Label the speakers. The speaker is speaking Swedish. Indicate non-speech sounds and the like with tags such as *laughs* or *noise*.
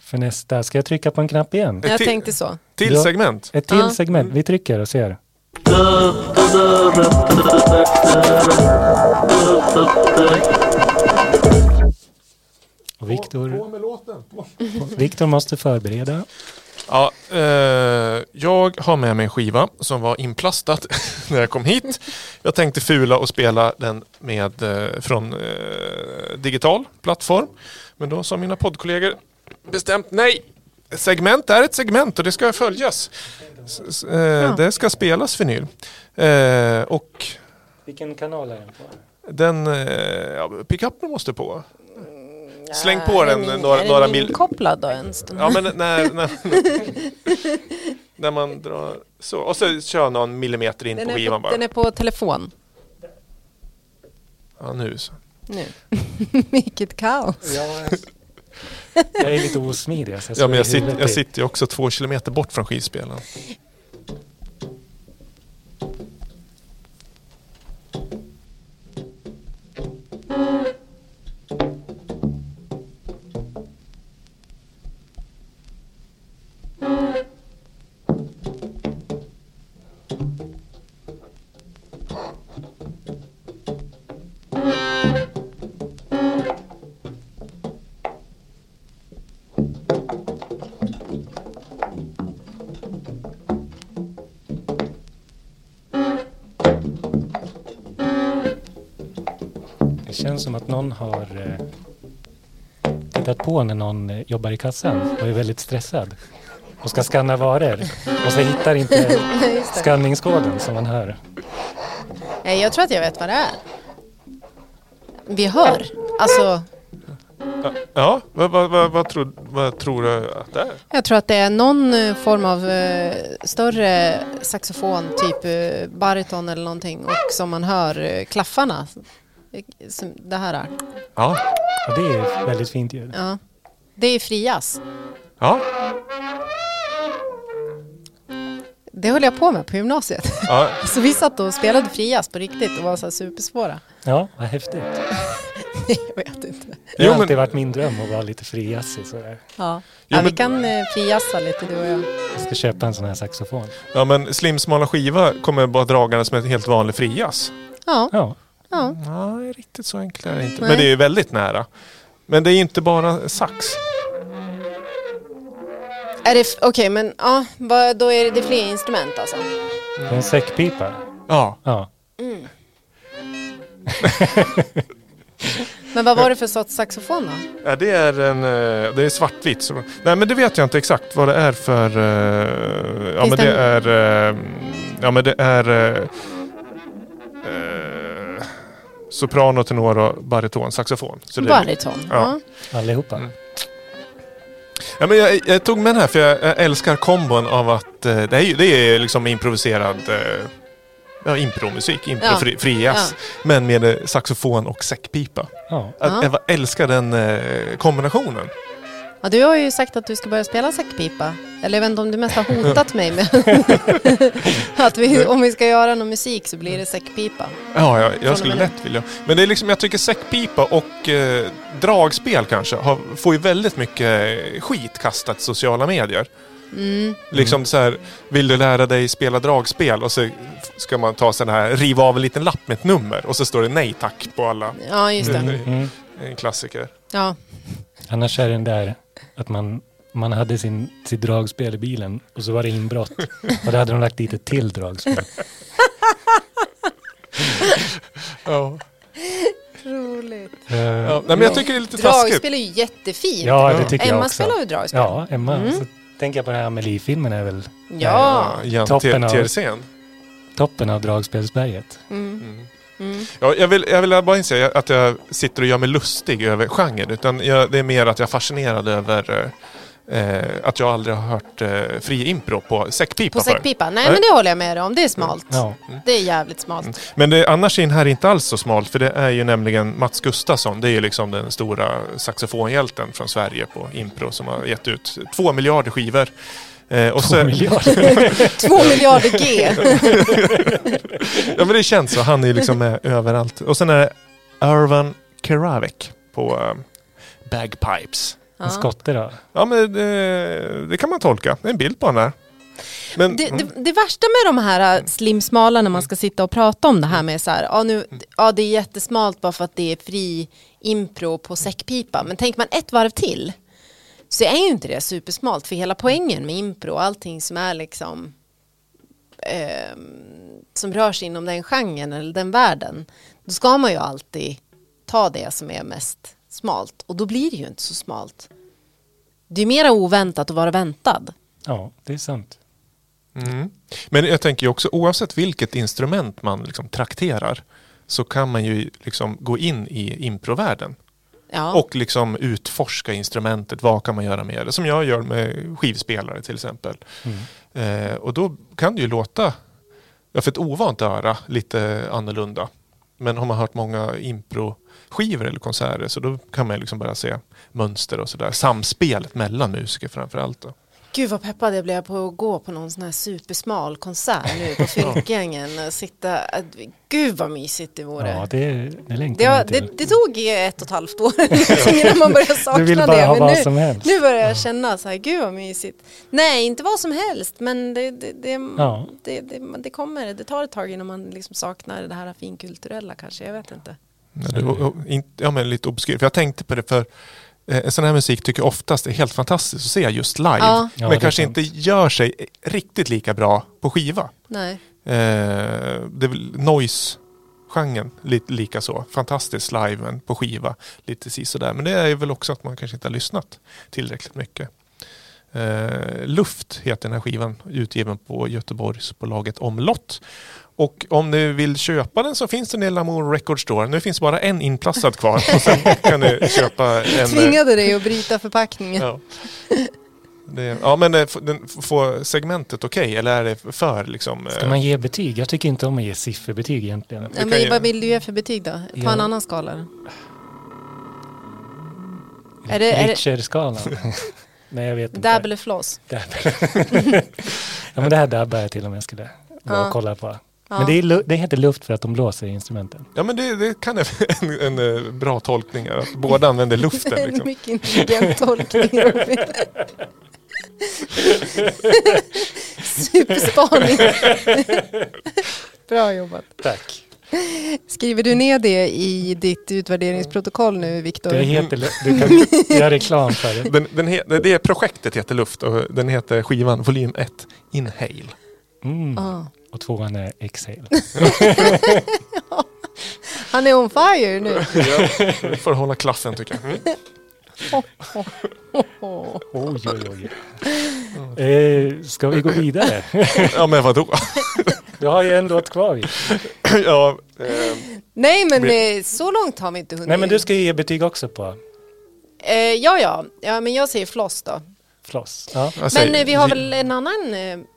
Speaker 1: finess där. Ska jag trycka på en knapp igen?
Speaker 2: Jag
Speaker 3: till-
Speaker 2: tänkte så.
Speaker 3: Till
Speaker 1: Ja.
Speaker 3: segment.
Speaker 1: Ett till
Speaker 2: Ja.
Speaker 1: segment. Vi trycker och ser. Och Viktor,
Speaker 3: med låten.
Speaker 1: Viktor måste förbereda.
Speaker 3: Ja, eh, jag har med mig en skiva som var inplastad *laughs* när jag kom hit. Jag tänkte fula och spela den med, eh, från eh, digital plattform. Men då sa mina poddkollegor bestämt nej. Ett segment är ett segment och det ska följas. S- s- eh, Det ska spelas vinyl. Eh, och
Speaker 1: Vilken kanal är den på?
Speaker 3: den... Eh, ja, pickupen måste på. Släng
Speaker 2: Ja,
Speaker 3: på
Speaker 2: är
Speaker 3: den
Speaker 2: min-
Speaker 3: några,
Speaker 2: är
Speaker 3: några
Speaker 2: den
Speaker 3: mil...
Speaker 2: inkopplad då ens? Den
Speaker 3: Ja men när, när, när man drar så. Och så kör någon millimeter in
Speaker 2: den,
Speaker 3: på
Speaker 2: är
Speaker 3: skivan
Speaker 2: på,
Speaker 3: bara.
Speaker 2: den är på telefon
Speaker 3: Ja, nu så.
Speaker 2: nu. *laughs* Vilket kaos.
Speaker 1: Jag är lite osmidig. Så
Speaker 3: Ja, men
Speaker 1: slår i
Speaker 3: jag, sitter,
Speaker 1: huvudet
Speaker 3: jag
Speaker 1: i.
Speaker 3: sitter ju också två kilometer bort från skivspelaren.
Speaker 1: Det känns som att någon har eh, tittat på när någon eh, jobbar i kassan och är väldigt stressad och ska skanna varor och så hittar inte
Speaker 2: Nej, just det.
Speaker 1: skanningskoden som man hör.
Speaker 2: Nej, jag tror att jag vet vad det är. Vi hör. Alltså,
Speaker 3: Ja, vad, vad, vad, vad, tror, vad tror du att det är?
Speaker 2: jag tror att det är någon eh, form av eh, större saxofon, typ eh, bariton eller någonting och som man hör eh, klaffarna. Eh, Som det här är.
Speaker 3: Ja,
Speaker 1: Och det är ett väldigt fint ljud.
Speaker 2: Ja. Det är frias.
Speaker 3: ja,
Speaker 2: Det höll jag på med på gymnasiet.
Speaker 3: ja.
Speaker 2: Så vi satt och spelade frias på riktigt och var så här supersvåra. *laughs*
Speaker 1: Ja, vad häftigt.
Speaker 2: Nej, jag vet inte.
Speaker 1: Det
Speaker 3: Jo,
Speaker 1: har
Speaker 3: men-
Speaker 1: alltid varit min dröm att vara lite friassig sådär.
Speaker 2: Ja.
Speaker 3: Jo,
Speaker 2: Ja, vi
Speaker 3: men-
Speaker 2: kan eh, friassa lite du och jag.
Speaker 1: Jag ska köpa en sån här saxofon.
Speaker 3: ja men slimsmala skiva kommer bara dragandes som ett helt vanligt frias.
Speaker 2: Ja,
Speaker 1: Ja,
Speaker 2: ja.
Speaker 3: Nej, riktigt så enkelt är det inte.
Speaker 2: Nej.
Speaker 3: Men det är ju väldigt nära. Men det är ju inte bara sax.
Speaker 2: Är det f- Okej, men ja, vad- då är det, det är fler instrument alltså.
Speaker 1: det är en säckpipa.
Speaker 3: Ja,
Speaker 1: Ja.
Speaker 2: Mm.
Speaker 3: *laughs*
Speaker 2: Men vad var det för sorts saxofon då?
Speaker 3: Ja, det är en eh, det är svartvitt. så- Nej, men det vet jag inte exakt vad det är för... eh, Ja,
Speaker 2: Finns
Speaker 3: men det
Speaker 2: det
Speaker 3: är... eh, Ja, men det är... eh, eh, Soprano, tenor och bariton, saxofon. Så det,
Speaker 2: Bariton.
Speaker 3: Ja.
Speaker 2: Ja.
Speaker 1: Allihopa.
Speaker 3: ja, men jag, jag tog med den här för jag, jag älskar kombon av att eh, det är, ju- det är liksom improviserad eh, ja, impromusik,
Speaker 2: Ja.
Speaker 3: improfri, frias, men med eh, saxofon och säckpipa.
Speaker 1: Ja.
Speaker 3: Jag,
Speaker 2: Ja.
Speaker 3: jag älskar den eh, kombinationen.
Speaker 2: Ja, du har ju sagt att du ska börja spela säckpipa. Eller jag vet inte om du mest har hotat
Speaker 3: *laughs*
Speaker 2: mig med *laughs* att vi, om vi ska göra någon musik så blir det säckpipa.
Speaker 3: Ja, jag, jag
Speaker 2: och
Speaker 3: skulle
Speaker 2: med
Speaker 3: lätt vilja. Men det är liksom, jag tycker säckpipa och eh, dragspel kanske har, får ju väldigt mycket eh, skit kastat i sociala medier.
Speaker 2: Mm.
Speaker 3: Liksom så här, vill du lära dig spela dragspel? Och så ska man ta sån här, riva av en liten lapp med ett nummer och så står det nej tack på alla
Speaker 2: Ja, just det.
Speaker 3: Mm.
Speaker 1: Mm.
Speaker 3: eh, klassiker.
Speaker 2: Ja.
Speaker 1: Annars är den där att man, man hade sin, sitt dragspel i bilen och så var det inbrott. Och då hade de lagt dit ett till dragspel.
Speaker 3: Ja.
Speaker 2: Roligt.
Speaker 1: Eh,
Speaker 3: Ja, nej, men jag tycker det är lite taskigt.
Speaker 2: Dragspel är ju jättefint.
Speaker 1: Ja, det
Speaker 3: Ja.
Speaker 1: tycker jag
Speaker 2: Emma
Speaker 1: också.
Speaker 2: spelar ju dragspel.
Speaker 1: Ja, Emma.
Speaker 2: Mm.
Speaker 1: Så tänker jag på den här Amelie-filmen är väl
Speaker 2: Ja.
Speaker 3: Jan
Speaker 1: Toppen av-
Speaker 3: Tersén.
Speaker 1: toppen av dragspelsberget.
Speaker 2: Mm. Mm.
Speaker 3: Ja, jag, vill, jag vill bara inse att jag sitter och gör mig lustig över genren. Utan jag, det är mer att jag är fascinerad över eh, eh, att jag aldrig har hört eh, fri impro på säckpipa
Speaker 2: På
Speaker 3: förrän.
Speaker 2: säckpipa? Nej, men det håller jag med dig om. Det är smalt.
Speaker 1: Ja. Mm.
Speaker 2: Det är jävligt smalt.
Speaker 3: Men det, annars är den här inte alls så smalt. För det är ju nämligen Mats Gustafsson. Det är ju liksom den stora saxofonhjälten från Sverige på impro som har gett ut två miljarder skivor. Eh, och
Speaker 1: Två
Speaker 3: så,
Speaker 1: miljarder.
Speaker 2: Två miljarder
Speaker 1: *laughs*
Speaker 2: G.
Speaker 3: *laughs* ja, men det känns så. Han är ju liksom med överallt. Och sen är det Irvan Keravik på eh, Bagpipes.
Speaker 2: Ja.
Speaker 1: En skotte då?
Speaker 3: Ja, men det, det kan man tolka. Det är en bild på den där. Men,
Speaker 2: Det, det, det värsta med de här äh, slimsmala när man ska sitta och prata om det här med så här, ja, nu, ja det är jättesmalt bara för att det är fri impro på säckpipa, men tänker man ett varv till så är ju inte det supersmalt, för hela poängen med impro och allting som är liksom ehm, som rör sig inom den genren eller den världen, då ska man ju alltid ta det som är mest smalt och då blir det ju inte så smalt. Det är mera oväntat att vara väntad.
Speaker 1: Ja, det är sant.
Speaker 3: Mm. Men jag tänker ju också oavsett vilket instrument man liksom trakterar så kan man ju liksom gå in i improvärlden
Speaker 2: Ja.
Speaker 3: och liksom utforska instrumentet. Vad kan man göra med det? Som jag gör med skivspelare till exempel.
Speaker 1: Mm.
Speaker 3: Eh, och då kan det ju låta ja, för ett ovant öra lite annorlunda. Men har man hört många impro-skivor eller konserter så då kan man ju liksom börja se mönster och sådär. Samspelet mellan musiker framförallt. Då.
Speaker 2: Gud vad peppad jag blev på att gå på någon sån här supersmal konsert
Speaker 1: *laughs*
Speaker 2: nu på Fylkingen. och Sitta, att- gud vad mysigt det vore.
Speaker 1: Ja, det, det längtar
Speaker 2: det,
Speaker 1: man
Speaker 2: har,
Speaker 1: till.
Speaker 2: det, det tog ju ett och ett halvt år *laughs* liksom innan man började
Speaker 1: *laughs*
Speaker 2: sakna
Speaker 1: du vill bara
Speaker 2: det.
Speaker 1: ha vad
Speaker 2: nu,
Speaker 1: som helst.
Speaker 2: nu börjar jag känna så här, gud vad mysigt. Nej, inte vad som helst, men det, det, det,
Speaker 1: Ja.
Speaker 2: det, det, det kommer, det tar ett tag innan man liksom saknar det här finkulturella kanske, jag vet inte.
Speaker 3: Ja,
Speaker 1: Mm.
Speaker 3: det var, och inte- ja, men lite obskyr. För jag tänkte på det för eh, sån här musik tycker jag oftast är helt fantastisk att se just live.
Speaker 2: Ja.
Speaker 1: Ja, det
Speaker 3: men
Speaker 1: är
Speaker 3: kanske
Speaker 1: sant.
Speaker 3: inte gör sig riktigt lika bra på skiva.
Speaker 2: Nej.
Speaker 3: Eh, det är väl noise-genren lite lika så. Fantastiskt live men på skiva. Lite si sådär. Men det är väl också att man kanske inte har lyssnat tillräckligt mycket. Eh, Luft heter den här skivan utgiven på Göteborgsbolaget Omlott. Och om ni vill köpa den så finns den i Lamour Record Store. Nu finns bara en inplastad kvar. Och sen kan ni köpa en... eh,
Speaker 2: Tvingade dig att bryta förpackningen.
Speaker 3: Ja. Det, ja men eh, f- den- f- får segmentet okej eller är det för liksom... eh,
Speaker 1: Ska man ge betyg? Jag tycker inte om att ge sifferbetyg egentligen.
Speaker 2: Ja,
Speaker 3: kan
Speaker 2: men
Speaker 3: ju-
Speaker 2: vad vill du ge för betyg då? Ta
Speaker 1: Ja.
Speaker 2: en annan skala. då. Är det, är det *laughs*
Speaker 1: Richer-skalan. Nej, jag vet inte.
Speaker 2: dab eller floss?
Speaker 1: Ja, men det här dabbar jag till om jag skulle gå
Speaker 2: Ja.
Speaker 1: och kolla på.
Speaker 2: Ja.
Speaker 1: Men det, är, lu- det heter luft för att de blåser i instrumenten.
Speaker 3: Ja men det, det kan en, *laughs* en, en eh, bra tolkning är att båda använder luften.
Speaker 2: en
Speaker 3: Liksom.
Speaker 2: mycket
Speaker 3: *laughs*
Speaker 2: intelligent tolkning. Robin. Superspaning. Bra jobbat.
Speaker 1: Tack.
Speaker 2: Skriver du ner det i ditt utvärderingsprotokoll nu, Viktor?
Speaker 1: Det heter, lu- du
Speaker 2: *laughs*
Speaker 1: kan göra reklam för det.
Speaker 3: Den, den he, det projektet heter Luft och den heter skivan volym 1 Inhale.
Speaker 1: Mm.
Speaker 2: Ja.
Speaker 1: Och tvåan är
Speaker 2: *laughs*
Speaker 1: exhale.
Speaker 2: Han är on fire nu.
Speaker 3: Vi *laughs* får hålla klassen tycker jag. Mm.
Speaker 2: Åh.
Speaker 1: Oj, oj, oj. Eh, ska vi gå vidare?
Speaker 3: Ja men vadå? *laughs*
Speaker 1: Du har ju en låt kvar. Vic.
Speaker 3: Ja, eh,
Speaker 2: Nej, men eh, så långt har vi inte hunnit.
Speaker 1: Nej, men du ska ju ge betyg också på
Speaker 2: eh, ja, ja, ja, men jag säger floss då.
Speaker 1: floss. Ja.
Speaker 3: jag
Speaker 2: Men
Speaker 3: säger-
Speaker 2: eh, vi har väl en annan eh,